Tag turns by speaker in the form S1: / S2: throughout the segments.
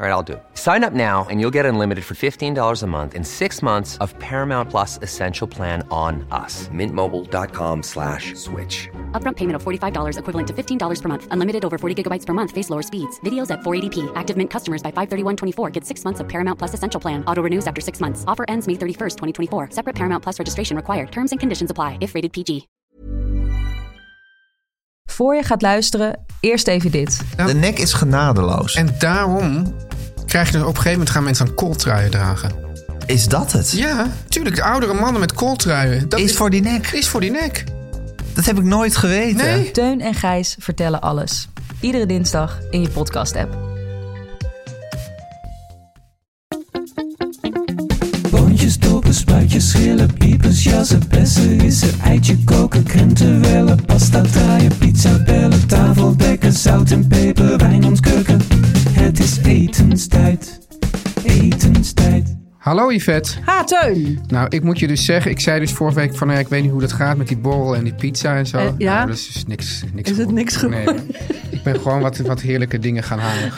S1: All right, I'll do it. Sign up now and you'll get unlimited for $15 a month in six months of Paramount Plus Essential Plan on us.
S2: Mintmobile.com slash switch.
S3: Upfront payment of $45 equivalent to $15 per month. Unlimited over 40 gigabytes per month. Face lower speeds. Videos at 480p. Active Mint customers by 531.24 get six months of Paramount Plus Essential Plan. Auto renews after six months. Offer ends May 31st, 2024. Separate Paramount Plus registration required. Terms and conditions apply if rated PG.
S4: Voor je gaat luisteren, eerst even dit.
S5: De nek is genadeloos. En
S6: Nou. En daarom krijg je dus op een gegeven moment gaan mensen aan kooltruien dragen.
S5: is dat het?
S6: Ja, tuurlijk. Oudere mannen met kooltruien. Dat
S5: Is voor die nek.
S6: Is voor die nek.
S5: Dat heb ik nooit geweten.
S6: Nee.
S4: Teun en Gijs vertellen alles. Iedere dinsdag in je podcast-app.
S7: Boontjes, dopen, spuitjes, schillen, piepers, jassen, bessen, rissen, eitje koken, krenten wellen, pasta draaien, pizza bellen, tafel dekken, zout en peper, wijn ontkurken. Het is etenstijd, etenstijd.
S6: Hallo Yvette.
S4: Ha, Teun!
S6: Nou, ik moet je dus zeggen, ik zei dus vorige week van, nou ja, ik weet niet hoe dat gaat met die borrel en die pizza en zo.
S4: Eh, ja?
S6: Nou, dat is dus niks, niks
S4: Is het
S6: geworden.
S4: niks geworden?
S6: Nee, ik ben gewoon wat, wat heerlijke dingen gaan halen.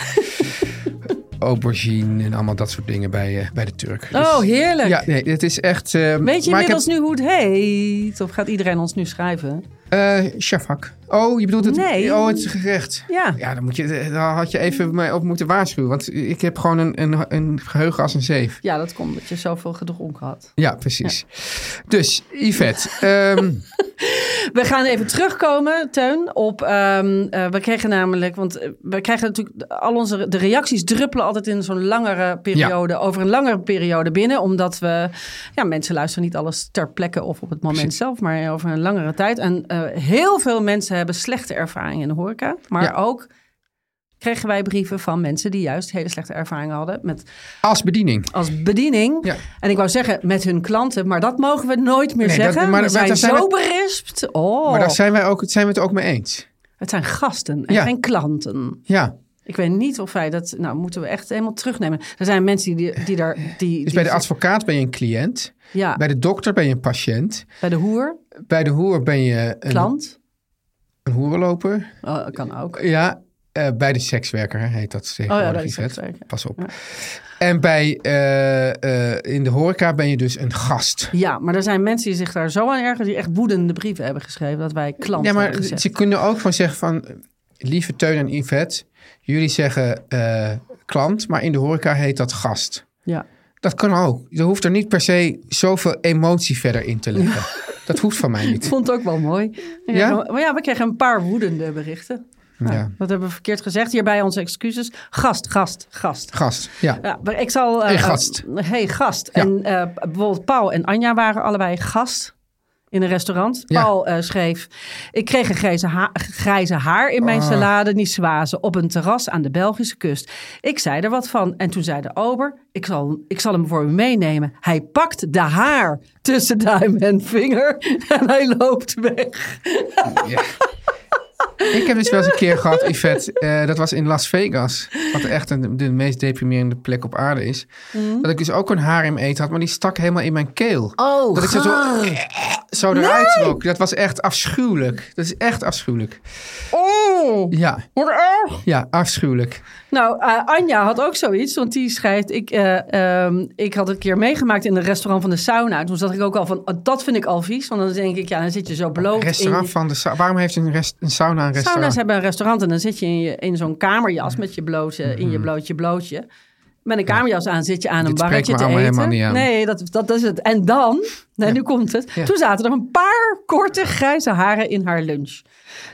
S6: Aubergine en allemaal dat soort dingen bij, eh, bij de Turk. Dus-
S8: Oh, heerlijk.
S6: Ja, nee, het is echt... eh,
S8: Weet je
S6: maar ik
S8: inmiddels nu hoe het heet? Of gaat iedereen ons nu schrijven?
S6: heb- eh, Shafak. Oh, je bedoelt het...
S8: Nee.
S6: Oh, het gerecht.
S8: Ja.
S6: Ja, dan, moet je, daar had je even mij op moeten waarschuwen. Want ik heb gewoon een, een, een geheugen als een zeef.
S8: Ja, dat komt omdat je zoveel gedronken had.
S6: Ja, precies. Dus, Yvette. ehm,
S8: We gaan even terugkomen, Teun, op... ehm, eh, we kregen namelijk... Want eh, we krijgen natuurlijk... Al onze de reacties druppelen altijd in zo'n langere periode... over een langere periode binnen. Omdat we... Ja, mensen luisteren niet alles ter plekke of op het moment
S6: Precies.
S8: zelf... maar over een langere tijd. En eh, heel veel mensen hebben slechte ervaringen in de horeca. Maar
S6: Ja.
S8: ook kregen wij brieven van mensen... die juist hele slechte ervaringen hadden met...
S6: als bediening.
S8: als bediening.
S6: Ja.
S8: En ik wou zeggen met hun klanten, maar dat mogen we nooit meer
S6: Nee, dat-
S8: zeggen.
S6: maar
S8: we
S6: dat-
S8: zijn
S6: daar zijn
S8: zo
S6: we-
S8: berispt. Oh,
S6: Maar daar zijn, wij ook, zijn we het ook mee eens.
S8: het zijn gasten en
S6: Ja.
S8: geen klanten.
S6: Ja.
S8: Ik weet niet of wij dat, nou moeten we echt helemaal terugnemen. Er zijn mensen die, die daar, die,
S6: Dus
S8: die-
S6: bij de advocaat ben je een cliënt.
S8: ja, bij
S6: Bij
S8: de,
S6: de dokter ben je een patiënt.
S8: hoer,
S6: Bij de hoer ben je een,
S8: klant,
S6: een hoerenloper.
S8: Oh, dat kan ook.
S6: Ja. eh, bij de sekswerker hè, heet dat tegenwoordig,
S8: Oh bij de
S6: Yvette.
S8: sekswerker.
S6: Pas op. En bij, eh, eh, in de horeca ben je dus een gast.
S8: Ja, maar er zijn mensen die zich daar zo aan ergeren, die echt woedende brieven hebben geschreven dat wij klanten
S6: Ja, maar
S8: hebben gezegd.
S6: ze kunnen ook van zeggen van... eh, Lieve Teun en Yvette, jullie zeggen eh, klant, maar in de horeca heet dat gast.
S8: Ja.
S6: Dat kan ook. Je hoeft er niet per se zoveel emotie verder in te leggen. Dat hoeft van mij
S8: Ik
S6: niet.
S8: vond het ook wel mooi.
S6: Ja?
S8: Maar ja, we kregen een paar woedende berichten. Nou,
S6: Ja.
S8: Dat hebben we verkeerd gezegd. Hierbij onze excuses. Gast, gast, gast.
S6: Gast, ja.
S8: Ja, maar ik zal... eh,
S6: Hey, gast.
S8: eh, hey, gast.
S6: Ja.
S8: En eh, bijvoorbeeld Paul en Anja waren allebei gast in een restaurant.
S6: Ja.
S8: Paul eh, schreef... Ik kreeg een grijze, ha- grijze haar in
S6: Oh.
S8: mijn salade niçoise op een terras aan de Belgische kust. Ik zei er wat van. En toen zei de ober... Ik zal, ik zal hem voor u meenemen. Hij pakt de haar tussen duim en vinger en hij loopt weg.
S6: Ik heb dus wel eens een keer gehad, Yvette, eh, dat was in Las Vegas, wat echt een, de meest deprimerende plek op aarde is. Dat ik dus ook een harem eet had, maar die stak helemaal in mijn keel.
S8: Oh,
S6: dat ik zo, zo, zo eruit rook. Dat was echt afschuwelijk. Dat is echt afschuwelijk.
S8: Oh,
S6: Ja,
S8: wat erg.
S6: ja, afschuwelijk.
S8: Nou, eh, Anja had ook zoiets, want die schrijft... Ik, eh, ehm, ik had een keer meegemaakt in een restaurant van de sauna. Toen zat ik ook al van, oh, dat vind ik al vies. Want dan denk ik, ja, dan zit je zo bloot in...
S6: Restaurant
S8: je-
S6: van de sa- Waarom heeft een, rest, een sauna een restaurant?
S8: Sauna's hebben een restaurant en dan zit je in, je, in zo'n kamerjas met je blootje, in je blootje blootje. Met een kamerjas aan zit je aan een
S6: Mhm. Dit spreekt
S8: barretje
S6: me
S8: te eten.
S6: allemaal helemaal niet aan.
S8: Nee, dat, dat, is het. En dan, nee, nu komt het.
S6: Ja.
S8: Toen zaten er een paar korte grijze haren in haar lunch.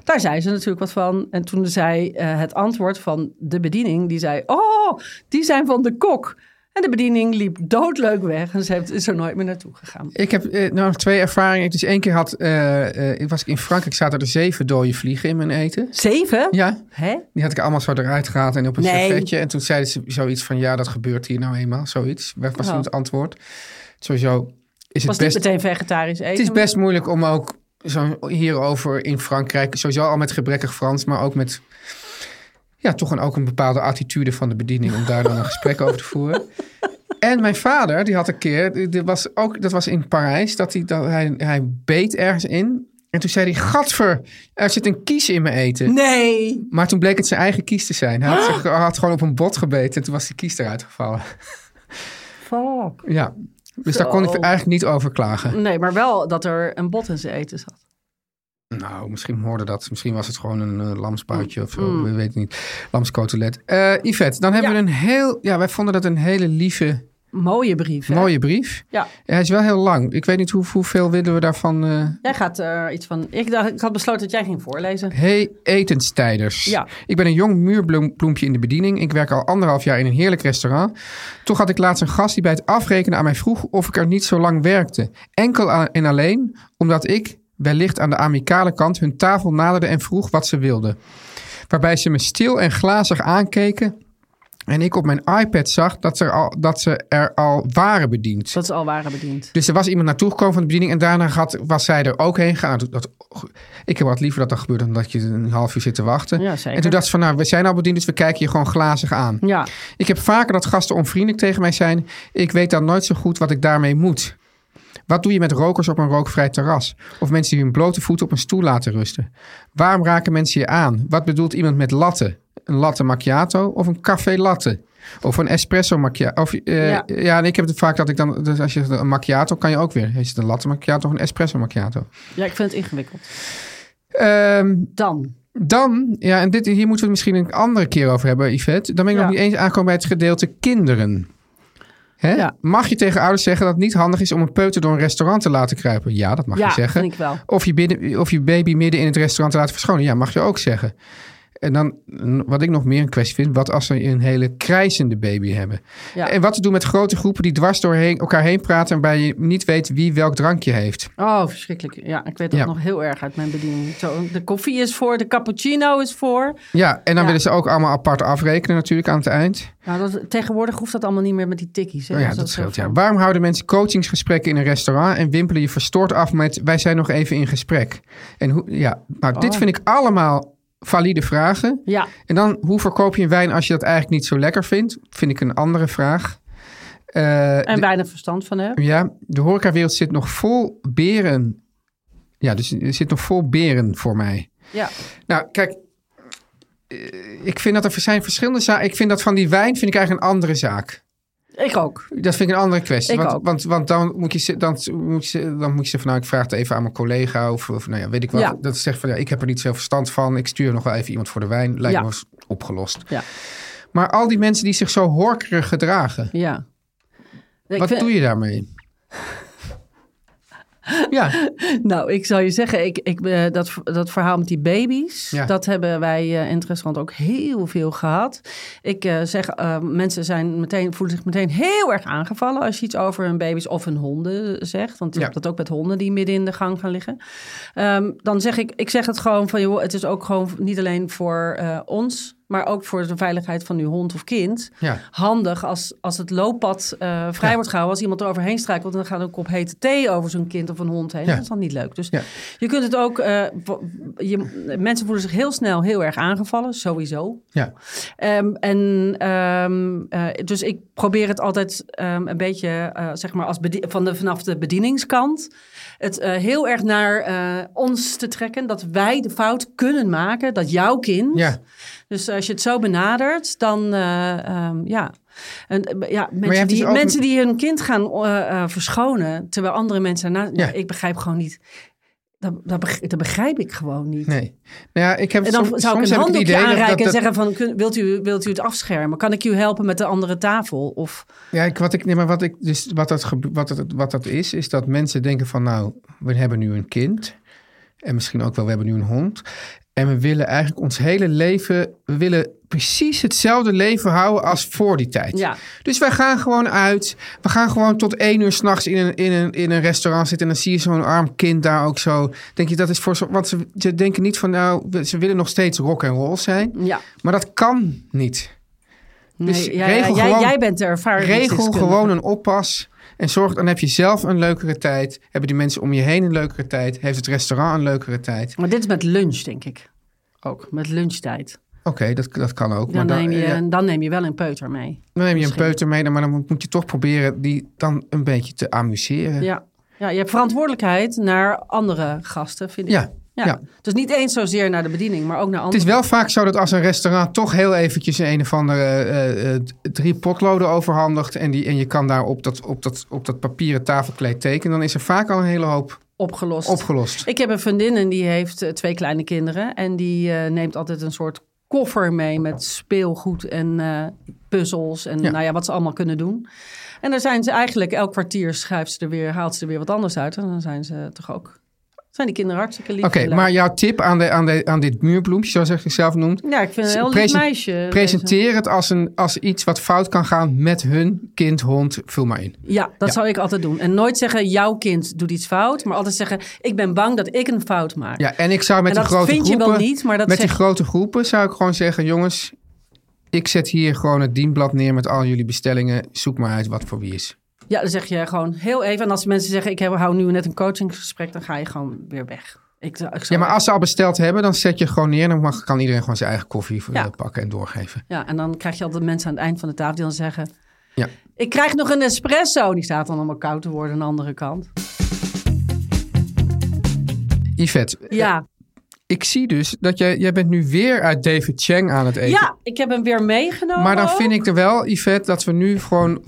S8: Daar zei ze natuurlijk wat van. En toen zei eh, het antwoord van de bediening, die zei... Oh, die zijn van de kok. En de bediening liep doodleuk weg en ze heeft- is er nooit meer naartoe gegaan.
S6: Ik heb eh, nou, twee ervaringen. Dus één keer had, eh, eh, was ik in Frankrijk, zaten er zeven dode vliegen in mijn eten.
S8: Zeven?
S6: Ja,
S8: Hè?
S6: die had ik allemaal zo eruit gehaald en op een
S8: Nee.
S6: servetje. En toen zeiden ze zoiets van, ja, dat gebeurt hier nou eenmaal, zoiets. Wat was
S8: Oh.
S6: toen het antwoord? Sowieso is het
S8: Was
S6: best...
S8: niet meteen vegetarisch eten.
S6: Het is
S8: maar-
S6: best moeilijk om ook zo hierover in Frankrijk, sowieso al met gebrekkig Frans, maar ook met ja, toch een, ook een bepaalde attitude van de bediening om daar dan een gesprek over te voeren. En mijn vader, die had een keer, die- die was ook, dat was in Parijs, dat hij, dat hij, hij beet ergens in. En toen zei hij, gadver, er zit een kies in mijn
S8: Hm?
S6: eten.
S8: Nee.
S6: Maar toen bleek het zijn eigen kies te zijn. Hij had, zich- hij had gewoon op een bot gebeten en toen was die kies eruit gevallen.
S8: Fuck.
S6: Ja, dus daar kon ik
S8: Zo.
S6: eigenlijk niet over klagen.
S8: Nee, maar wel dat er een bot in zijn eten zat.
S6: Nou, misschien hoorde dat. Misschien was het gewoon een eh, lamsbuitje of zo. We weten het niet. Lamscotelet. Eh, Yvette, dan hebben
S8: Ja.
S6: we een heel... Ja, wij vonden dat een hele lieve,
S8: Mooie brief. hè?
S6: mooie brief.
S8: Ja.
S6: Hij is wel heel lang. Ik weet niet hoe, hoeveel willen we daarvan... eh
S8: Jij gaat er iets van. Ik, dacht, ik had besloten dat jij ging voorlezen.
S6: Hey etenstijders.
S8: Ja.
S6: Ik ben een jong muurbloempje in de bediening. Ik werk al anderhalf jaar in een heerlijk restaurant. Toch had ik laatst een gast die bij het afrekenen aan mij vroeg of ik er niet zo lang werkte. Enkel a- en alleen omdat ik, wellicht aan de amicale kant, hun tafel naderde en vroeg wat ze wilden. Waarbij ze me stil en glazig aankeken en ik op mijn iPad zag dat, ze er al, dat ze er al waren bediend.
S8: Dat ze al waren bediend.
S6: Dus er was iemand naartoe gekomen van de bediening en daarna gaat, was zij er ook heen gegaan. Nou, dat, ik heb wat liever dat dat gebeurt dan dat je een half uur zit te wachten.
S8: Ja, zeker.
S6: En toen dacht ze van, nou, we zijn al bediend, dus we kijken je gewoon glazig aan.
S8: Ja.
S6: Ik heb vaker dat gasten onvriendelijk tegen mij zijn. Ik weet dan nooit zo goed wat ik daarmee moet. Wat doe je met rokers op een rookvrij terras? Of mensen die hun blote voeten op een stoel laten rusten? Waarom raken mensen je aan? Wat bedoelt iemand met latte? Een latte macchiato of een café latte? Of een espresso macchiato? Of, eh,
S8: Ja.
S6: ja, en ik heb het vaak dat ik dan... Dus als je zegt een macchiato, kan je ook weer. Is het een latte macchiato of een espresso macchiato?
S8: ja, ik vind het ingewikkeld.
S6: Ehm,
S8: Dan.
S6: dan, ja, en dit, hier moeten we het misschien een andere keer over hebben, Yvette. Dan ben ik
S8: Ja.
S6: nog niet eens aangekomen bij het gedeelte kinderen. Hè?
S8: Ja.
S6: Mag je tegen ouders zeggen dat het niet handig is om een peuter door een restaurant te laten kruipen? Ja, dat mag
S8: ja,
S6: je zeggen.
S8: vind ik wel.
S6: Of, je binnen, of je baby midden in het restaurant te laten verschonen? Ja, mag je ook zeggen. En dan, n- wat ik nog meer een kwestie vind, wat als ze een hele krijzende baby hebben?
S8: Ja.
S6: En wat te doen met grote groepen die dwars doorheen elkaar heen praten en waarbij je niet weet wie welk drankje heeft?
S8: Oh, verschrikkelijk. Ja, ik weet dat
S6: Ja.
S8: nog heel erg uit mijn bediening. Zo, de koffie is voor, de cappuccino is voor.
S6: Ja, en dan
S8: Ja.
S6: willen ze ook allemaal apart afrekenen natuurlijk aan het eind.
S8: Nou, dat, tegenwoordig hoeft dat allemaal niet meer met die tikkies. Hè?
S6: Oh ja,
S8: Dus
S6: dat
S8: is
S6: scheelt.
S8: heel
S6: Ja.
S8: fijn.
S6: Waarom houden mensen coachingsgesprekken in een restaurant en wimpelen je verstoord af met wij zijn nog even in gesprek? En hoe, ja, maar dit vind ik allemaal valide vragen.
S8: Ja,
S6: En dan, hoe verkoop je een wijn als je dat eigenlijk niet zo lekker vindt? Vind ik een andere vraag. Eh,
S8: en weinig verstand van hebben.
S6: de, ja, de horecawereld zit nog vol beren. Ja, dus er zit nog vol beren voor mij.
S8: Ja.
S6: Nou, kijk. eh, Ik vind dat er zijn verschillende zaken. Ik vind dat van die wijn vind ik eigenlijk een andere zaak.
S8: Ik ook.
S6: Dat vind ik een andere kwestie.
S8: Ik
S6: want,
S8: ook.
S6: want, want dan moet je ze- dan moet je, ze- dan moet je ze van nou, ik vraag het even aan mijn collega of, of nou ja, weet ik wat.
S8: Ja.
S6: Dat zegt van ja, ik heb er niet zoveel verstand van. Ik stuur nog wel even iemand voor de wijn. Lijkt
S8: Ja.
S6: me wel eens opgelost.
S8: Ja.
S6: Maar al die mensen die zich zo horkerig gedragen,
S8: Ja. Ik
S6: wat
S8: vind-
S6: doe je daarmee? ja,
S8: Nou, ik zal je zeggen, ik, ik, eh, dat, dat verhaal met die baby's,
S6: Ja.
S8: dat hebben wij eh, in het restaurant ook heel veel gehad. Ik eh, zeg, eh, mensen zijn meteen, voelen zich meteen heel erg aangevallen als je iets over hun baby's of hun honden zegt. Want je
S6: Ja.
S8: hebt dat ook met honden die midden in de gang gaan liggen. Ehm, dan zeg ik, ik zeg het gewoon van, joh, het is ook gewoon niet alleen voor eh, ons, maar ook voor de veiligheid van uw hond of kind.
S6: Ja.
S8: Handig als, als het looppad eh, vrij wordt gehouden, als iemand er overheen struikelt, dan gaat een kop hete thee over zo'n kind of een hond heen.
S6: Ja.
S8: Dat is dan niet leuk. Dus
S6: Ja.
S8: je kunt het ook, eh, wa- je, mensen voelen zich heel snel heel erg aangevallen, sowieso.
S6: ja.
S8: Ehm, en, ehm, eh, dus ik probeer het altijd ehm, een beetje, eh, zeg maar, als bedie- van de, vanaf de bedieningskant. Het eh, heel erg naar eh, ons te trekken. Dat wij de fout kunnen maken. Dat jouw kind.
S6: Ja.
S8: Dus als je het zo benadert, dan eh, ehm, ja. En, eh, ja, mensen,
S6: hebt
S8: die,
S6: dus ook-
S8: mensen die hun kind gaan eh, eh, verschonen, terwijl andere mensen ernaast...
S6: Ja.
S8: Ik begrijp gewoon niet. Dat, dat, begrijp, dat begrijp ik gewoon niet.
S6: Nee. Nou ja, ik heb
S8: En dan
S6: soms,
S8: zou ik
S6: soms
S8: een
S6: heb het
S8: handdoekje
S6: idee dat-
S8: aanreiken
S6: dat,
S8: en
S6: dat-
S8: zeggen van, kun- wilt u, wilt u het afschermen? Kan ik u helpen met de andere tafel? Of,
S6: Ja, ik, wat ik, nee, maar wat, ik, dus wat, dat, gebe- wat, dat, wat dat is, is dat mensen denken van nou, we hebben nu een kind. En misschien ook wel, we hebben nu een hond. En we willen eigenlijk ons hele leven, we willen precies hetzelfde leven houden als voor die tijd.
S8: Ja.
S6: Dus wij gaan gewoon uit. We gaan gewoon tot één uur s'nachts in een, in, een, in een restaurant zitten. En dan zie je zo'n arm kind daar ook zo. Denk je dat is voor zo. Want ze, ze denken niet van nou, we- ze willen nog steeds rock en roll zijn.
S8: Ja.
S6: Maar dat kan niet. Dus
S8: Nee, ja, ja,
S6: regel
S8: jij,
S6: gewoon-
S8: jij bent de ervaring.
S6: Regel gewoon een oppas. En zorg, dan heb je zelf een leukere tijd. Hebben die mensen om je heen een leukere tijd. Heeft het restaurant een leukere tijd.
S8: Maar dit is met lunch, denk ik. Ook met lunchtijd.
S6: Oké, dat, dat kan ook.
S8: Dan,
S6: dan,
S8: neem je,
S6: ja,
S8: dan neem je wel een peuter mee.
S6: dan neem je een
S8: misschien.
S6: peuter mee. Maar dan moet je toch proberen die dan een beetje te amuseren.
S8: Ja. ja, je hebt verantwoordelijkheid naar andere gasten, vind ik.
S6: Ja, ja.
S8: Dus niet eens zozeer naar de bediening, maar ook naar
S6: Het
S8: andere.
S6: is wel vaak zo dat als een restaurant toch heel eventjes een of andere eh, eh, d- drie potloden overhandigt. En, die, en je kan daar op dat, op, dat, op dat papieren tafelkleed tekenen. Dan is er vaak al een hele hoop
S8: opgelost.
S6: opgelost.
S8: Ik heb een vriendin en die heeft eh, twee kleine kinderen. En die eh, neemt altijd een soort koffer mee met speelgoed en eh, puzzels. En
S6: Ja.
S8: nou ja, wat ze allemaal kunnen doen. En daar zijn ze eigenlijk elk kwartier schrijft ze er weer, haalt ze er weer wat anders uit. En dan zijn ze toch ook. Zijn die kinderen hartstikke lief.
S6: Oké,
S8: en leuk.
S6: maar jouw tip aan, de, aan, de, aan dit muurbloempje, zoals je zichzelf noemt.
S8: Ja, ik vind een heel lief
S6: Presen-
S8: meisje. deze.
S6: Presenteer het als, een, als iets wat fout kan gaan met hun kind, hond, vul maar in.
S8: Ja, dat
S6: Ja.
S8: zou ik altijd doen. En nooit zeggen, jouw kind doet iets fout. Maar altijd zeggen, ik ben bang dat ik een fout maak.
S6: Ja, en ik zou met
S8: En
S6: de
S8: dat
S6: grote
S8: vind je
S6: groepen.
S8: wel niet, maar dat
S6: met die
S8: zeg-
S6: grote groepen zou ik gewoon zeggen: jongens, ik zet hier gewoon het dienblad neer met al jullie bestellingen. Zoek maar uit wat voor wie is.
S8: Ja, dan zeg je gewoon heel even. En als mensen zeggen, ik heb, hou nu net een coachingsgesprek, dan ga je gewoon weer weg. Ik, zou- ik
S6: Ja,
S8: zou-
S6: maar als ze al besteld hebben, dan zet je het gewoon neer. En dan mag, kan iedereen gewoon zijn eigen koffie eh,
S8: Ja.
S6: pakken en doorgeven.
S8: ja, en dan krijg je altijd mensen aan het eind van de tafel die dan zeggen...
S6: Ja.
S8: Ik krijg nog een espresso. Die staat dan allemaal koud te worden aan de andere kant.
S6: Yvette, eh,
S8: Ja,
S6: ik zie dus dat jij, jij bent nu weer uit David Chang aan het eten.
S8: ja ik heb hem weer meegenomen.
S6: Maar dan
S8: ook.
S6: vind ik er wel, Yvette, dat we nu gewoon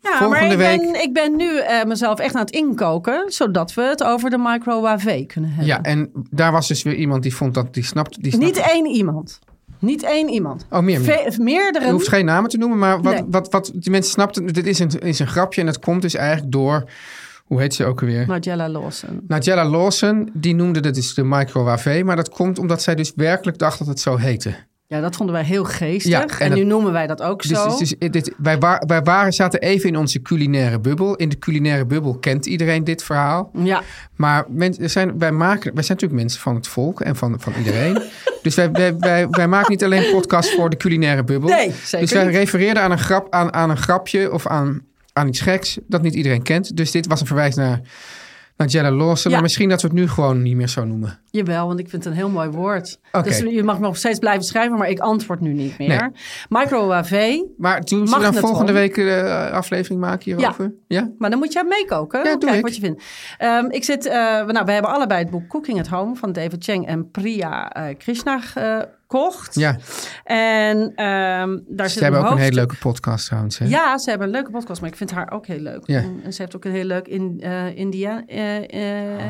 S8: ja,
S6: volgende
S8: maar
S6: week...
S8: ik Ben, ik ben nu eh, mezelf echt aan het inkoken, zodat we het over de microwave kunnen hebben.
S6: Ja, en daar was dus weer iemand die vond dat, die snapt... Die snapt
S8: Niet één iemand. Niet één iemand.
S6: Oh, meer, meer.
S8: Ve- meerdere.
S6: Je hoeft geen namen te noemen, maar wat,
S8: Nee.
S6: wat, wat die mensen snapten, dit is een, is een grapje en dat komt dus eigenlijk door, hoe heet ze ook alweer?
S8: Margella Lawson.
S6: Nigella Lawson, die noemde dat dus de microwave, maar dat komt omdat zij dus werkelijk dacht dat het zo heette.
S8: Ja, dat vonden wij heel geestig.
S6: Ja, en
S8: en
S6: dat-
S8: nu noemen wij dat ook
S6: Dus,
S8: zo.
S6: dus, dus dit, wij, wa- wij waren, zaten even in onze culinaire bubbel. In de culinaire bubbel kent iedereen dit verhaal.
S8: Ja,
S6: Maar men- er zijn, wij, maken, wij zijn natuurlijk mensen van het volk en van, van iedereen. dus wij, wij, wij, wij maken niet alleen podcasts voor de culinaire bubbel.
S8: Nee, zeker
S6: dus wij
S8: niet.
S6: refereerden aan een, grap, aan, aan een grapje of aan, aan iets geks dat niet iedereen kent. Dus dit was een verwijs naar, naar Jella Lawson.
S8: Ja.
S6: Maar misschien dat we het nu gewoon niet meer zo noemen.
S8: jawel, want ik vind het een heel mooi woord.
S6: Oké.
S8: Dus je mag me nog steeds blijven schrijven, maar ik antwoord nu niet meer.
S6: Nee.
S8: Microwave,
S6: Maar toen zullen we dan
S8: Magnetron.
S6: volgende week de aflevering maken hierover? Ja.
S8: maar dan moet jij meekoken.
S6: Ja, doe
S8: Kijk
S6: ik.
S8: wat je vindt. Ehm, ik zit, eh, nou, we hebben allebei het boek Cooking at Home van David Chang en Priya eh, Krishna gekocht.
S6: Ja.
S8: En ehm, daar
S6: Ze
S8: zit
S6: hebben ook een hele
S8: hoofdstuk-
S6: leuke podcast trouwens. Hè?
S8: Ja, ze hebben een leuke podcast, maar ik vind haar ook heel leuk. Mm,
S6: Ja.
S8: En, en ze heeft ook een heel leuk in, eh, India, eh, eh,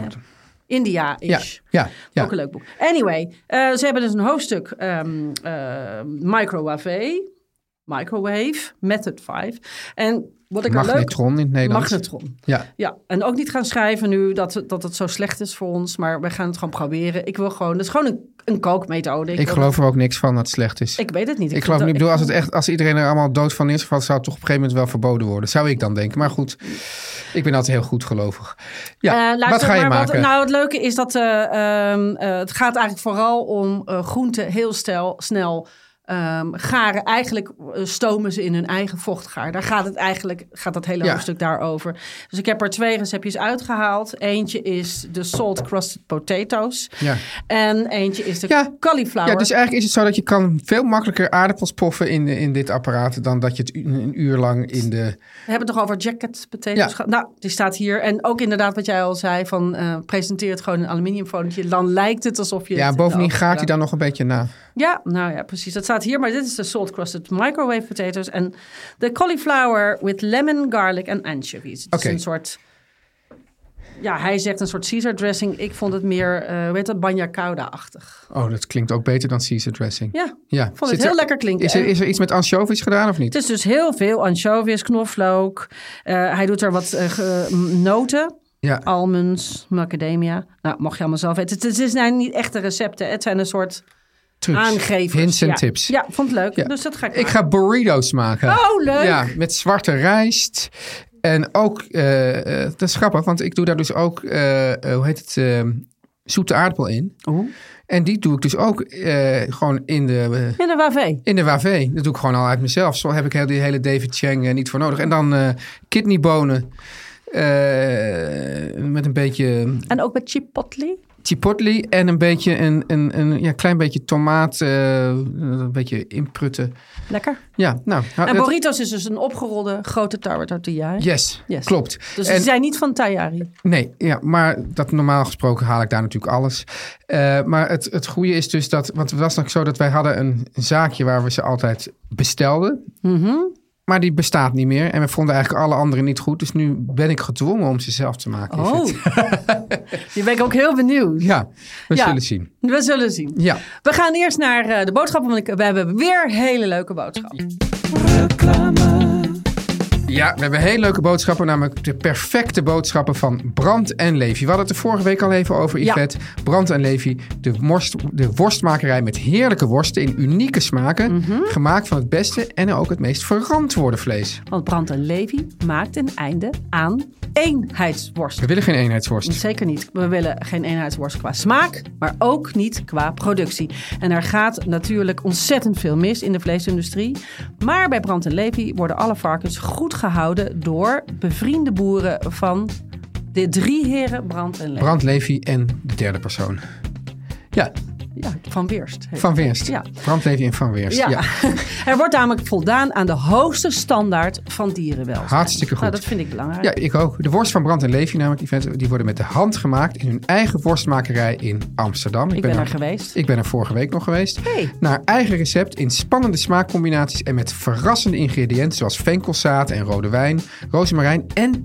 S8: India-ish.
S6: Ja, ja, ja.
S8: Ook een leuk boek. Anyway, eh, ze hebben dus een hoofdstuk ehm, eh, microwave, microwave, method 5. En wat ik al leuk...
S6: Magnetron in het Nederlands.
S8: Magnetron.
S6: Ja.
S8: Ja, en ook niet gaan schrijven nu dat, dat het zo slecht is voor ons, maar we gaan het gewoon proberen. Ik wil gewoon, dat is gewoon een, een kookmethode.
S6: Ik
S8: wil-
S6: geloof er ook niks van dat het slecht is.
S8: Ik weet het niet.
S6: Ik,
S8: vind
S6: geloof niet,
S8: dat-
S6: ik bedoel, als, het echt, als iedereen er allemaal dood van is, valt, zou het toch op een gegeven moment wel verboden worden. Zou ik dan denken. Maar goed, ik ben altijd heel goed gelovig. Ja,
S8: Eh, luister,
S6: wat ga je
S8: maar
S6: maken?
S8: nou, het leuke is dat eh, ehm, eh, het gaat eigenlijk vooral om eh groenten heel stel, snel ehm, garen. Eigenlijk eh, stomen ze in hun eigen vochtgaar. Daar gaat het eigenlijk, gaat dat hele
S6: Ja.
S8: hoofdstuk daarover. Dus ik heb er twee receptjes uitgehaald. Eentje is de salt crusted potatoes.
S6: Ja.
S8: En eentje is de
S6: Ja.
S8: cauliflower.
S6: ja, dus eigenlijk is het zo dat je kan veel makkelijker aardappels poffen in, de, in dit apparaat dan dat je het u- een uur lang in de...
S8: We hebben het toch over jacket potatoes
S6: Ja.
S8: gehad. Nou, die staat hier. En ook inderdaad wat jij al zei van eh, presenteer het gewoon in een aluminiumfolietje. Dan lijkt het alsof je...
S6: Ja,
S8: het-
S6: bovendien
S8: nou,
S6: gaat hij
S8: ja.
S6: dan nog een beetje na.
S8: Ja, nou ja, precies. Dat staat hier. Maar dit is de salt crusted microwave potatoes. En de cauliflower with lemon, garlic en anchovies. Het
S6: Oké.
S8: is een soort... Ja, hij zegt een soort Caesar dressing. Ik vond het meer, eh weet dat, banja cauda-achtig.
S6: Oh, dat klinkt ook beter dan Caesar dressing.
S8: Ja,
S6: Ja.
S8: vond het
S6: Zit
S8: heel
S6: er-
S8: lekker klinken.
S6: Is er, is er iets met anchovies gedaan of niet?
S8: Het is dus heel veel anchovies, knoflook. Eh, hij doet er wat eh, ge- m- noten.
S6: Ja.
S8: almonds, macadamia. Nou, mocht je allemaal zelf weten. Het, het zijn niet echte recepten. Het zijn een soort
S6: Trucs.
S8: aangevers.
S6: Hints en
S8: ja.
S6: tips.
S8: Ja, vond het leuk.
S6: Ja.
S8: Dus dat ga ik
S6: Ik ga burritos maken.
S8: Oh, leuk.
S6: Ja, met zwarte rijst. En ook, eh, eh, dat is grappig, want ik doe daar dus ook, eh, eh, hoe heet het, eh, zoete aardappel in. En die doe ik dus ook eh, gewoon in de, eh,
S8: In een wavé.
S6: in de wavé. Dat doe ik gewoon al uit mezelf. Zo heb ik heel die hele David Chang eh, niet voor nodig. En dan eh, kidneybonen eh, met een beetje
S8: En ook met chipotle.
S6: chipotle en een beetje een, een, een ja, klein beetje tomaat, eh, een beetje inprutten.
S8: Lekker.
S6: Ja, nou. hou-
S8: En
S6: dat-
S8: burritos is dus een opgerolde grote tarwe tortilla. hè?
S6: Yes,
S8: Yes.
S6: klopt.
S8: Dus
S6: En-
S8: ze zijn niet van Tayari.
S6: Nee, ja, maar dat, normaal gesproken haal ik daar natuurlijk alles. Eh, maar het, het goede is dus dat, want het was nog zo dat wij hadden een zaakje waar we ze altijd bestelden.
S8: Mhm.
S6: Maar die bestaat niet meer en we vonden eigenlijk alle anderen niet goed. Dus nu ben ik gedwongen om ze zelf te maken. is
S8: Oh.
S6: het.
S8: Je ben ik ook heel benieuwd.
S6: Ja, we
S8: Ja.
S6: zullen zien.
S8: We zullen zien.
S6: Ja.
S8: We gaan eerst naar eh, de boodschappen, want ik- we hebben weer hele leuke boodschappen.
S6: Ja, we hebben hele leuke boodschappen, namelijk de perfecte boodschappen van Brand en Levy. We hadden het er vorige week al even over,
S8: Ja.
S6: Yvette. Brand en Levy, de, worst, de worstmakerij met heerlijke worsten in unieke smaken.
S8: Mhm.
S6: Gemaakt van het beste en ook het meest verantwoorde vlees.
S8: Want Brand en Levy maakt een einde aan eenheidsworst.
S6: We willen geen eenheidsworst.
S8: Zeker niet. We willen geen eenheidsworst qua smaak, maar ook niet qua productie. En er gaat natuurlijk ontzettend veel mis in de vleesindustrie. Maar bij Brand en Levy worden alle varkens goed gehouden door bevriende boeren van de drie heren Brand en Levy.
S6: Brand, Levy en de derde persoon. Ja,
S8: Ja, van Weerst. heet
S6: Van
S8: het.
S6: Weerst.
S8: Ja.
S6: Brand, Levy en Van Weerst.
S8: Ja.
S6: Ja.
S8: er wordt namelijk voldaan aan de hoogste standaard van dierenwelzijn.
S6: Hartstikke goed.
S8: Nou, dat vind ik belangrijk.
S6: Ja, ik ook. De worst van Brand en Levy namelijk, Yvette, die worden met de hand gemaakt in hun eigen worstmakerij in Amsterdam.
S8: ik ben,
S6: daar
S8: er geweest.
S6: Ik ben er vorige week nog geweest.
S8: Hey.
S6: Naar eigen recept in spannende smaakcombinaties en met verrassende ingrediënten zoals venkelzaad en rode wijn, rozemarijn en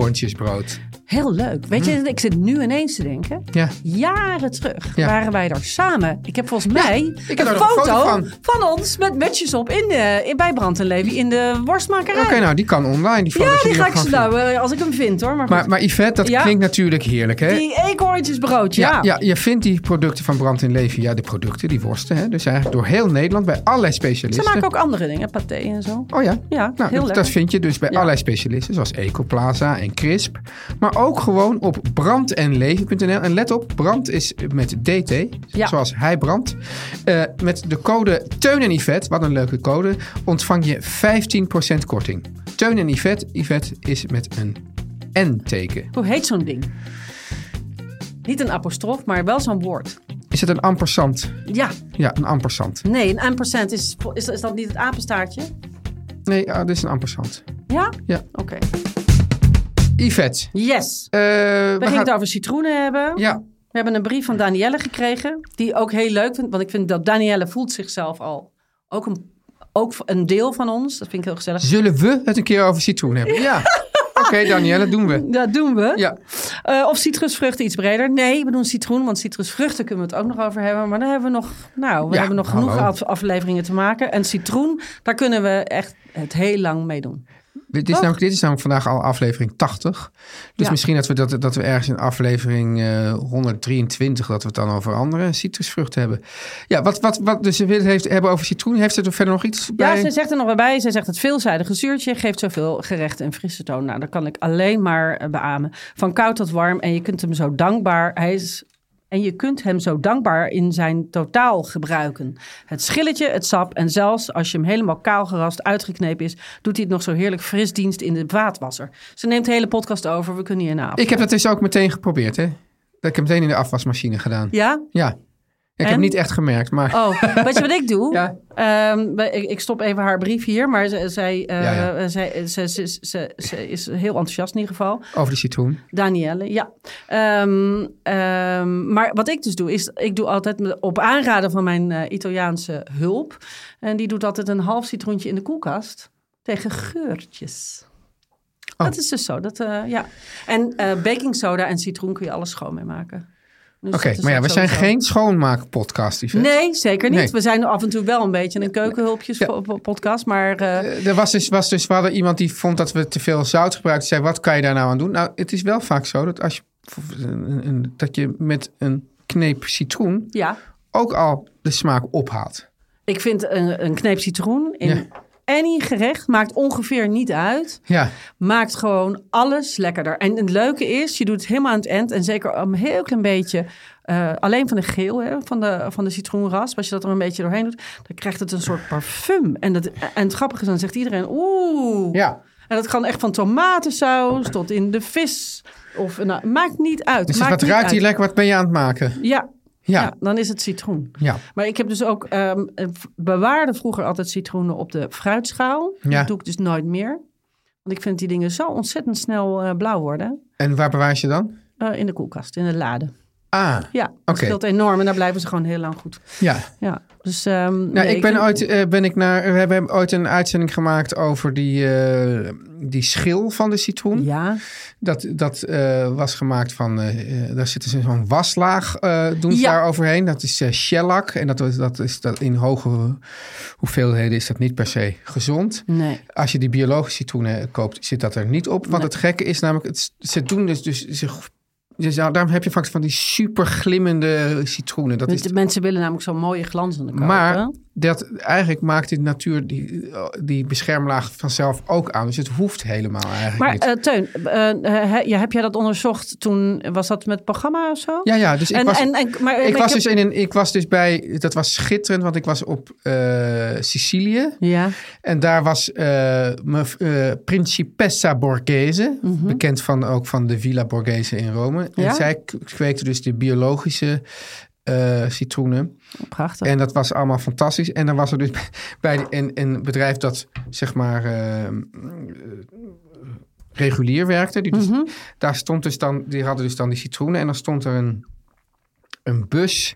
S6: eekhoorntjesbrood.
S8: Heel leuk. Weet
S6: Mm.
S8: je, ik zit nu ineens te denken.
S6: Ja.
S8: Jaren terug
S6: Ja.
S8: waren wij daar samen. Ik heb volgens mij
S6: ik heb
S8: een,
S6: daar nog een
S8: foto
S6: foto van.
S8: ons met matches op in de, in, bij Brand en Levy in de worstmakerij.
S6: Oké, nou die kan online. Die
S8: ja,
S6: foto's
S8: die
S6: die
S8: ga
S6: nog
S8: ik
S6: gaan vinden.
S8: slauwen als ik hem vind hoor. Maar, goed.
S6: Maar, maar Yvette, dat
S8: Ja.
S6: klinkt natuurlijk heerlijk, hè?
S8: die eekhoorntjesbrood, ja.
S6: ja, je vindt die producten van Brand in Levy, ja, de producten, die worsten, hè? Dus eigenlijk door heel Nederland bij allerlei
S8: Ze
S6: specialisten.
S8: maken ook andere dingen, paté en zo.
S6: Oh ja?
S8: Ja, heel
S6: nou, dat,
S8: lekker.
S6: dat vind je dus bij allerlei specialisten, zoals Ecoplaza en Crisp. Maar ook gewoon op brandenleven.nl. En let op, brand is met DT,
S8: Ja.
S6: zoals hij brandt. Eh, met de code Teun en Yvette, wat een leuke code, ontvang je 15% korting. Teun en Yvette, Yvette is met een N-teken.
S8: Hoe heet zo'n ding? Niet een apostrof, maar wel zo'n woord.
S6: Is het een ampersand?
S8: Ja,
S6: Ja, een ampersand.
S8: nee, een ampersand is, is, is dat niet het apenstaartje?
S6: Nee, ah, dit is een ampersand.
S8: Ja?
S6: Ja.
S8: Oké.
S6: Yvette.
S8: Yes.
S6: eh, we
S8: We gingen
S6: gaan-
S8: het over citroenen hebben.
S6: Ja,
S8: We hebben een brief van Danielle gekregen, die ook heel leuk vindt. Want ik vind dat Danielle voelt zichzelf al ook een, ook een deel van ons. Dat vind ik heel gezellig.
S6: zullen we het een keer over citroen hebben? Ja. Oké, Danielle, doen we.
S8: Dat doen we.
S6: Ja,
S8: Eh, of citrusvruchten iets breder. Nee, we doen citroen, want citrusvruchten kunnen we het ook nog over hebben. Maar dan hebben we nog, nou, we
S6: Ja,
S8: hebben nog
S6: hallo.
S8: genoeg af- afleveringen te maken. En citroen, daar kunnen we echt het heel lang mee doen.
S6: dit is, namelijk, dit is namelijk vandaag al aflevering 80. Dus
S8: Ja.
S6: misschien dat we, dat, dat we ergens in aflevering eh, 123... dat we het dan over andere citrusvruchten hebben. Ja, wat, wat, wat dus ze wil het heeft, hebben over citroen. Heeft ze er verder nog iets bij?
S8: Ja, ze zegt er nog wel bij. Ze zegt het veelzijdige zuurtje geeft zoveel gerechten een frisse toon. Nou, dat kan ik alleen maar eh, beamen. Van koud tot warm. En je kunt hem zo dankbaar. Hij is. En je kunt hem zo dankbaar in zijn totaal gebruiken. Het schilletje, het sap en zelfs als je hem helemaal kaal gerast uitgeknepen is, doet hij het nog zo heerlijk fris dienst in de vaatwasser. Ze neemt de hele podcast over, we kunnen hierna af.
S6: Ik heb dat dus ook meteen geprobeerd, hè. Dat heb ik meteen in de afwasmachine gedaan. Ja.
S8: Ja?
S6: Ik
S8: En?
S6: heb niet echt gemerkt, maar...
S8: Oh, weet je wat ik doe?
S6: Ja.
S8: Ehm, we- ik, ik stop even haar brief hier, maar ze- zij, eh,
S6: Ja, ja.
S8: zij- ze, ze, ze, ze- ze is heel enthousiast in ieder geval.
S6: Over de citroen.
S8: Danielle, ja. Ehm, ehm, maar wat ik dus doe, is ik doe altijd met- op aanraden van mijn eh, Italiaanse hulp. En die doet altijd een half citroentje in de koelkast tegen geurtjes.
S6: Oh.
S8: Dat is dus zo. Dat, eh, ja. En eh, baking soda en citroen kun je alles schoon mee maken. Dus
S6: Oké,
S8: dat is
S6: maar ja,
S8: ook
S6: we zijn
S8: sowieso-
S6: geen schoonmaakpodcast, Yvette.
S8: Nee, zeker niet.
S6: Nee.
S8: We zijn af en toe wel een beetje een keukenhulpjes-podcast, maar... eh,
S6: Eh, Er was dus, was dus, we hadden iemand die vond dat we te veel zout gebruikten. Zei, wat kan je daar nou aan doen? Nou, het is wel vaak zo dat als je, een- een- dat je met een kneep citroen
S8: ja,
S6: ook al de smaak ophaalt.
S8: ik vind een, een kneep citroen in
S6: Ja.
S8: any gerecht maakt ongeveer niet uit.
S6: Ja,
S8: Maakt gewoon alles lekkerder. En het leuke is, je doet het helemaal aan het eind. En zeker een heel klein beetje, eh, alleen van de geel, hè, van, de, van de citroenras. Als je dat er een beetje doorheen doet, dan krijgt het een soort parfum. En, dat, en het grappige is, dan zegt iedereen, oeh.
S6: ja.
S8: En dat kan echt van tomatensaus tot in de vis. Of, nou, maakt niet uit.
S6: Dus
S8: maakt
S6: wat
S8: niet
S6: ruikt hier
S8: uit.
S6: lekker? Wat ben je aan het maken?
S8: Ja, ja.
S6: Ja,
S8: dan is het citroen.
S6: ja.
S8: Maar ik heb dus ook, ehm, eh, v- bewaarde vroeger altijd citroenen op de fruitschaal.
S6: Ja.
S8: Dat doe ik dus nooit meer. Want ik vind die dingen zo ontzettend snel eh, blauw worden.
S6: En waar bewaar je dan?
S8: Eh, in de koelkast, in de lade.
S6: Ah,
S8: Ja, dat
S6: Oké.
S8: scheelt enorm en daar blijven ze gewoon heel lang goed.
S6: ja.
S8: Ja, dus... ehm,
S6: Nou,
S8: nee,
S6: ik ben
S8: vind-
S6: ooit, eh, ben ik naar, we hebben ooit een uitzending gemaakt over die, eh, die schil van de citroen.
S8: Ja,
S6: Dat, dat eh, was gemaakt van, eh, eh, daar zit dus zo'n waslaag eh doen ze
S8: Ja.
S6: daar overheen. Dat is eh shellac en dat, is- dat is dat in hoge hoeveelheden is dat niet per se gezond.
S8: nee.
S6: Als je die biologische citroenen koopt, zit dat er niet op. Want het gekke is namelijk, het, s- ze doen dus, dus, ze- dus ja, daarom heb je vaak van die super glimmende citroenen. Dat is
S8: de mensen willen namelijk zo'n mooie glanzende kopen.
S6: maar dat, eigenlijk maakt die natuur die, eh, die beschermlaag vanzelf ook aan. Dus het hoeft helemaal eigenlijk
S8: Maar
S6: niet.
S8: eh, Teun, eh, eh, he- ja, heb jij dat onderzocht toen? Was dat met het programma of zo?
S6: ja, ja, dus ik
S8: en,
S6: was,
S8: en, en, maar,
S6: ik
S8: maar
S6: was
S8: heb-
S6: dus in een, ik was dus bij, dat was schitterend, want ik was op eh, Sicilië.
S8: Ja,
S6: En daar was eh, mef- eh, Principessa Borghese, bekend van, ook van de Villa Borghese in Rome.
S8: Mhm. Ja?
S6: En zij k- kweekte dus de biologische eh, citroenen.
S8: prachtig.
S6: En dat was allemaal fantastisch. En dan was er dus bij een, een bedrijf dat zeg maar eh, eh, regulier werkte. Die dus, Daar stond dus dan, die hadden dus dan die citroenen. En dan stond er een, een bus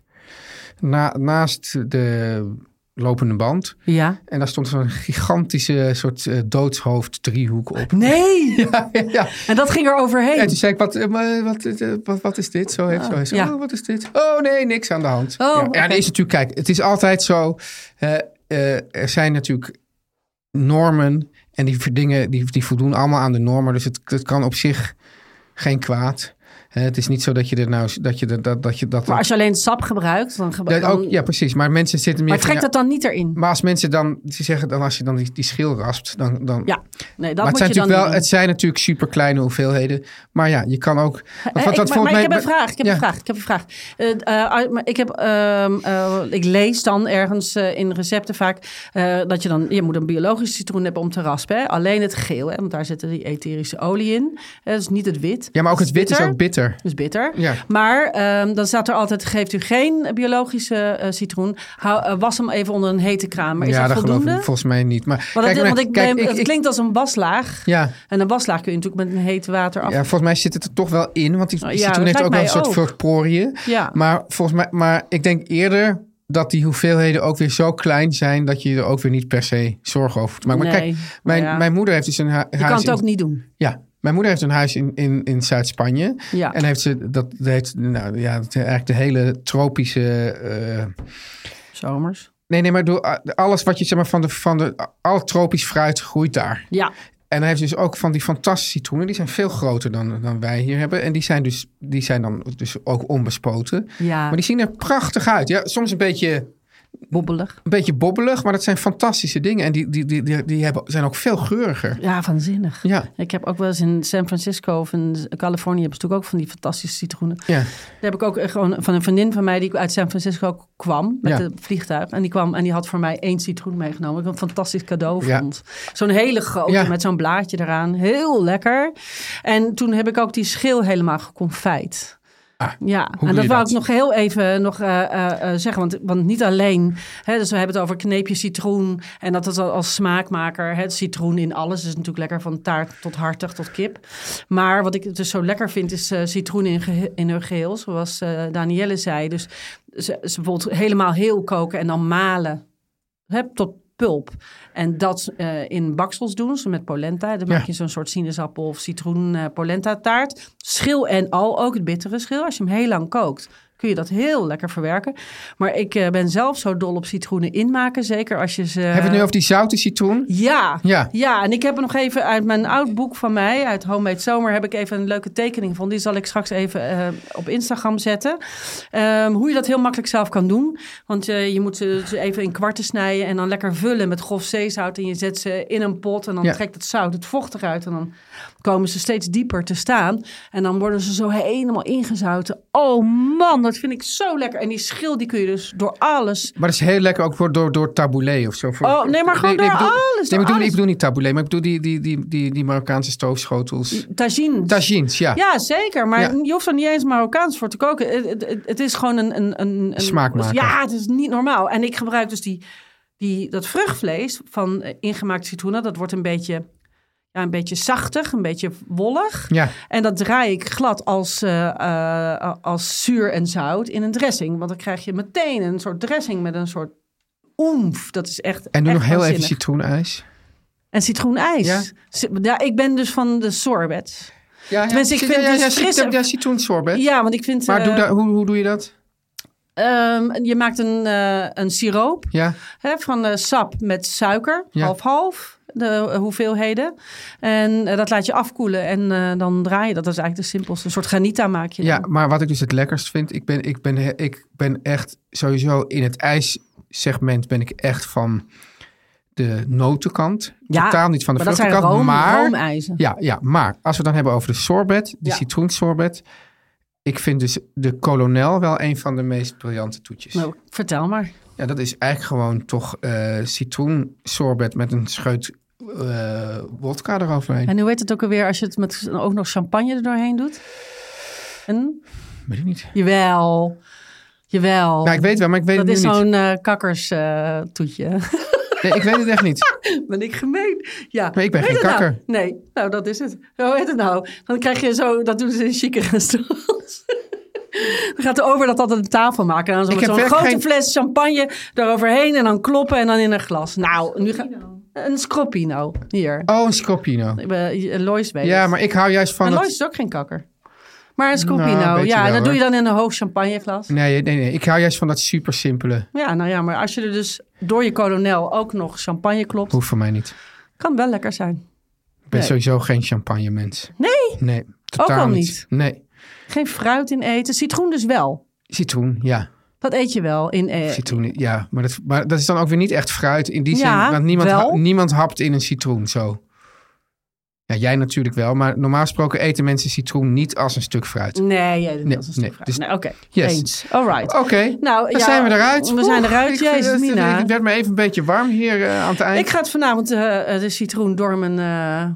S6: na, naast de lopende band.
S8: ja.
S6: En daar stond zo'n gigantische soort eh, doodshoofd driehoek op.
S8: Nee!
S6: Ja, ja.
S8: En dat ging er overheen.
S6: En toen zei ik, wat, eh, maar wat, eh, wat, wat is dit? Zo heeft zo. heeft ze,
S8: Ah. ja.
S6: oh, wat is dit? Oh nee, niks aan de hand.
S8: Oh,
S6: ja,
S8: oké.
S6: ja, nee, is natuurlijk, kijk, het is altijd zo. eh, eh, er zijn natuurlijk normen en die dingen die, die voldoen allemaal aan de normen. Dus het, het kan op zich geen kwaad. Eh, het is niet zo dat je er nou dat je er- dat dat je dat,
S8: maar als je alleen sap gebruikt, dan
S6: dat
S8: gebruik
S6: ook ja precies. Maar mensen zitten meer.
S8: Maar
S6: van,
S8: trek
S6: ja,
S8: dat dan niet erin.
S6: maar als mensen dan ze zeggen dan als je dan die, die schil raspt dan dan
S8: Ja, nee,
S6: maar
S8: dat moet
S6: het zijn,
S8: je
S6: natuurlijk
S8: dan
S6: wel,
S8: niet
S6: het
S8: doen.
S6: zijn natuurlijk super kleine hoeveelheden. Maar ja, je kan ook. Want, wat-
S8: Eh, ik-
S6: wat
S8: maar maar
S6: volgens
S8: ik heb
S6: mij-
S8: een vraag. Ik heb
S6: Ja.
S8: een vraag. Ik heb een vraag. Eh, eh, maar ik, heb, ehm, eh, ik lees dan ergens eh, in recepten vaak eh, dat je dan je moet een biologische citroen hebben om te raspen. Hè? Alleen het geel, hè? want daar zitten die etherische olie in. Eh, dus niet het wit.
S6: Ja, maar ook het wit is
S8: bitter.
S6: ook bitter.
S8: Dus bitter.
S6: Ja.
S8: Maar ehm, dan staat er altijd: geeft u geen biologische eh, citroen. Hou, eh, was hem even onder een hete kraan. Maar is
S6: ja,
S8: dat
S6: geloof ik
S8: voldoende?
S6: volgens mij niet. Maar,
S8: Want,
S6: kijk,
S8: dat,
S6: maar-
S8: want ik
S6: kijk,
S8: ben, het klinkt als een waslaag.
S6: Ja.
S8: En een waslaag kun je natuurlijk met een heet water af.
S6: Ja, volgens mij zit het er toch wel in, want die,
S8: Nou,
S6: die
S8: Oh. ja,
S6: citroen
S8: dat
S6: heeft ook wel een
S8: lijkt
S6: soort
S8: mij ook.
S6: soort poriën.
S8: Ja.
S6: Maar volgens mij, maar ik denk eerder dat die hoeveelheden ook weer zo klein zijn dat je er ook weer niet per se zorgen over hoeft te maken. Maar
S8: Nee,
S6: kijk, mijn,
S8: maar ja.
S6: mijn moeder heeft dus een hu- huis.
S8: je kan het
S6: in-
S8: ook niet doen.
S6: Ja, mijn moeder heeft een huis in, in, in Zuid-Spanje.
S8: Ja.
S6: En heeft ze, dat heeft, nou ja, het- eigenlijk de hele tropische. eh,
S8: Zomers.
S6: nee, nee, maar door, ah, alles wat je zeg maar van de, van de. Al tropisch fruit groeit daar.
S8: Ja,
S6: En hij heeft dus ook van die fantastische citroenen. Die zijn veel groter dan, dan wij hier hebben. En die zijn, dus, die zijn dan dus ook onbespoten.
S8: ja.
S6: Maar die zien er prachtig uit. Ja, soms een beetje,
S8: bobbelig.
S6: een beetje bobbelig, maar dat zijn fantastische dingen. En die, die, die, die, die hebben, zijn ook veel geuriger.
S8: Ja, waanzinnig.
S6: Ja.
S8: Ik heb ook wel eens in San Francisco of in Californië... hebben ze natuurlijk ook van die fantastische citroenen.
S6: Ja.
S8: Daar heb ik ook echt gewoon van een vriendin van mij... die uit San Francisco kwam met
S6: Ja.
S8: het vliegtuig. En die kwam en die had voor mij één citroen meegenomen. Ik een fantastisch cadeau
S6: Ja.
S8: vond. Zo'n hele grote
S6: Ja.
S8: met zo'n blaadje eraan. Heel lekker. En toen heb ik ook die schil helemaal geconfijt. Ja,
S6: doe
S8: en dat
S6: je
S8: wou
S6: dat?
S8: ik nog heel even nog, eh, eh, eh, zeggen. Want, want niet alleen, hè, dus we hebben het over kneepje citroen. En dat is al- als smaakmaker. Hè, citroen in alles is natuurlijk lekker van taart tot hartig tot kip. Maar wat ik dus zo lekker vind is eh, citroen in, gehe- in hun geheel. Zoals eh Danielle zei. Dus ze, ze bijvoorbeeld helemaal heel koken en dan malen. Hè, tot pulp. En dat eh, in baksels doen ze met polenta. Dan
S6: Ja.
S8: maak je zo'n soort sinaasappel of citroen eh, polenta taart. Schil en al, ook het bittere schil. Als je hem heel lang kookt, kun je kun je dat heel lekker verwerken. Maar ik eh, ben zelf zo dol op citroenen inmaken. Zeker als je ze...
S6: Hebben we het nu over die zoute citroen?
S8: Ja,
S6: Ja.
S8: ja. en ik heb er nog even uit mijn oud boek van mij, uit Homemade Zomer, heb ik even een leuke tekening van. Die zal ik straks even eh, op Instagram zetten. Ehm, hoe je dat heel makkelijk zelf kan doen. Want eh, je moet ze ze even in kwarten snijden en dan lekker vullen met grof zeezout. En je zet ze in een pot en dan
S6: Ja.
S8: trekt het zout het vocht eruit. En dan komen ze steeds dieper te staan. En dan worden ze zo helemaal ingezouten. Oh man, dat vind ik zo lekker. En die schil die kun je dus door alles
S6: Maar dat is heel lekker ook voor, door, door taboulet of zo. Voor-
S8: Oh, nee, maar gewoon
S6: ik
S8: door
S6: bedoel-
S8: alles,
S6: Nee,
S8: door
S6: ik bedoel, ik
S8: alles.
S6: bedoel niet taboulet, maar ik bedoel die, die, die, die, die Marokkaanse stoofschotels.
S8: tagines.
S6: Tagines, ja.
S8: Mm. Ja, zeker. Maar
S6: Ja.
S8: je hoeft er niet eens Marokkaans voor te koken. Het, het- het, het is gewoon een... een, een, een-
S6: Smaakmaker.
S8: Ja, het is niet normaal. En ik gebruik dus die, die, dat vruchtvlees van eh, ingemaakt citroenen. Dat wordt een beetje, ja, een beetje zachtig, een beetje wollig.
S6: Ja.
S8: En dat draai ik glad als, eh, eh, als zuur en zout in een dressing. Want dan krijg je meteen een soort dressing met een soort oemf. Dat is echt
S6: En doe
S8: echt
S6: nog heel even
S8: waanzinnig.
S6: citroenijs.
S8: En citroenijs.
S6: Ja.
S8: Ja. ik ben dus van de sorbet.
S6: Ja, ja.
S8: Tenminste, ik
S6: Ja,
S8: vind
S6: ja,
S8: dus
S6: ja, cit-
S8: frisse-
S6: ja, citroensorbet.
S8: Ja, want ik vind...
S6: Maar doe
S8: eh,
S6: dat, hoe, hoe doe je dat?
S8: Ehm, je maakt een, eh, een siroop
S6: Ja,
S8: hè, van eh, sap met suiker,
S6: Ja.
S8: half-half, de eh, hoeveelheden. En eh, dat laat je afkoelen en eh, dan draai je dat. Dat is eigenlijk de simpelste. Een soort granita maak je
S6: ja,
S8: dan.
S6: maar wat ik dus het lekkerst vind, ik ben, ik ben, he- ik ben echt sowieso in het ijssegment ben ik echt van de notenkant.
S8: Ja,
S6: Totaal niet van de
S8: maar dat zijn
S6: vruchtenkant,
S8: room-
S6: maar...
S8: roomijzen.
S6: Ja, ja, maar als we het dan hebben over de sorbet, de
S8: Ja.
S6: citroensorbet. Ik vind dus de kolonel wel een van de meest briljante toetjes.
S8: Nou, vertel maar.
S6: Ja, dat is eigenlijk gewoon toch eh citroensorbet met een scheut eh wodka eroverheen.
S8: En hoe heet het ook alweer als je het met ook nog champagne er doorheen doet? En?
S6: Weet ik niet.
S8: Jawel. Jawel.
S6: Nou, ik weet wel, maar ik weet
S8: dat
S6: het
S8: is
S6: nu niet.
S8: zo'n eh kakkerstoetje.
S6: Nee, ik weet het echt niet.
S8: Ben ik gemeen? Ja.
S6: Maar ik ben
S8: Hoe
S6: geen
S8: heet het nou?
S6: kakker.
S8: Nee, nou dat is het. Hoe heet het nou? Dan krijg je zo, dat doen ze in chique restaurants. Dan gaat de over dat altijd een tafel maken. En dan zo
S6: Ik
S8: met
S6: heb
S8: zo'n
S6: werkelijk
S8: grote
S6: geen-
S8: fles champagne eroverheen. En dan kloppen en dan in een glas. Nou, nu ga... Een scroppino. Hier.
S6: Oh, een scroppino.
S8: Ik ben- Lois weet
S6: Ja,
S8: het.
S6: maar ik hou juist van
S8: Maar
S6: het...
S8: Lois is ook geen kakker. Maar een scroppino.
S6: Nou, weet je
S8: ja,
S6: wel,
S8: dat doe je
S6: hoor.
S8: dan in een hoog champagneglas.
S6: Nee, nee, nee. Ik hou juist van dat super simpele.
S8: Ja, nou ja, maar als je er dus door je kolonel ook nog champagne klopt,
S6: Hoeft voor mij niet.
S8: kan wel lekker zijn.
S6: Ik ben
S8: Nee.
S6: sowieso geen champagne mens.
S8: Nee,
S6: Nee, totaal
S8: al niet.
S6: Nee.
S8: geen fruit in eten. Citroen dus wel.
S6: Citroen, ja.
S8: Dat eet je wel in. eh,
S6: Citroen, ja. Maar dat, maar dat is dan ook weer niet echt fruit in die zin.
S8: Ja,
S6: want niemand,
S8: wel.
S6: ha- niemand hapt in een citroen zo. Ja, jij natuurlijk wel. Maar normaal gesproken eten mensen citroen niet als een stuk fruit.
S8: nee, jij doet
S6: Nee,
S8: dat als een
S6: nee,
S8: stuk
S6: dus-
S8: fruit. Nee, Oké,
S6: Yes.
S8: eens. All right.
S6: Oké,
S8: Nou,
S6: dan
S8: ja,
S6: zijn we eruit.
S8: we zijn eruit.
S6: ik-
S8: Jezus,
S6: het-
S8: Mina.
S6: Het werd me even een beetje warm hier eh, aan het eind.
S8: Ik ga het vanavond eh, eh, de citroen door mijn eh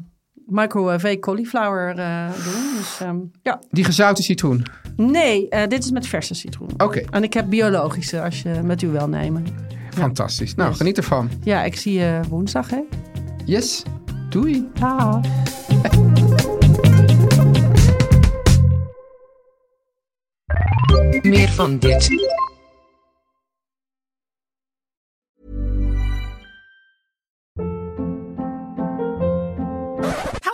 S8: microwave cauliflower eh, doen. Dus, ehm, ja.
S6: Die gezouten citroen.
S8: Nee, eh, dit is met verse citroen.
S6: Oké.
S8: En ik heb biologische, als je met u wil nemen.
S6: Fantastisch. Nou,
S8: Yes.
S6: geniet ervan.
S8: Ja, ik zie je woensdag, hè?
S6: Yes. Doei.
S8: Dag.
S9: Meer van dit.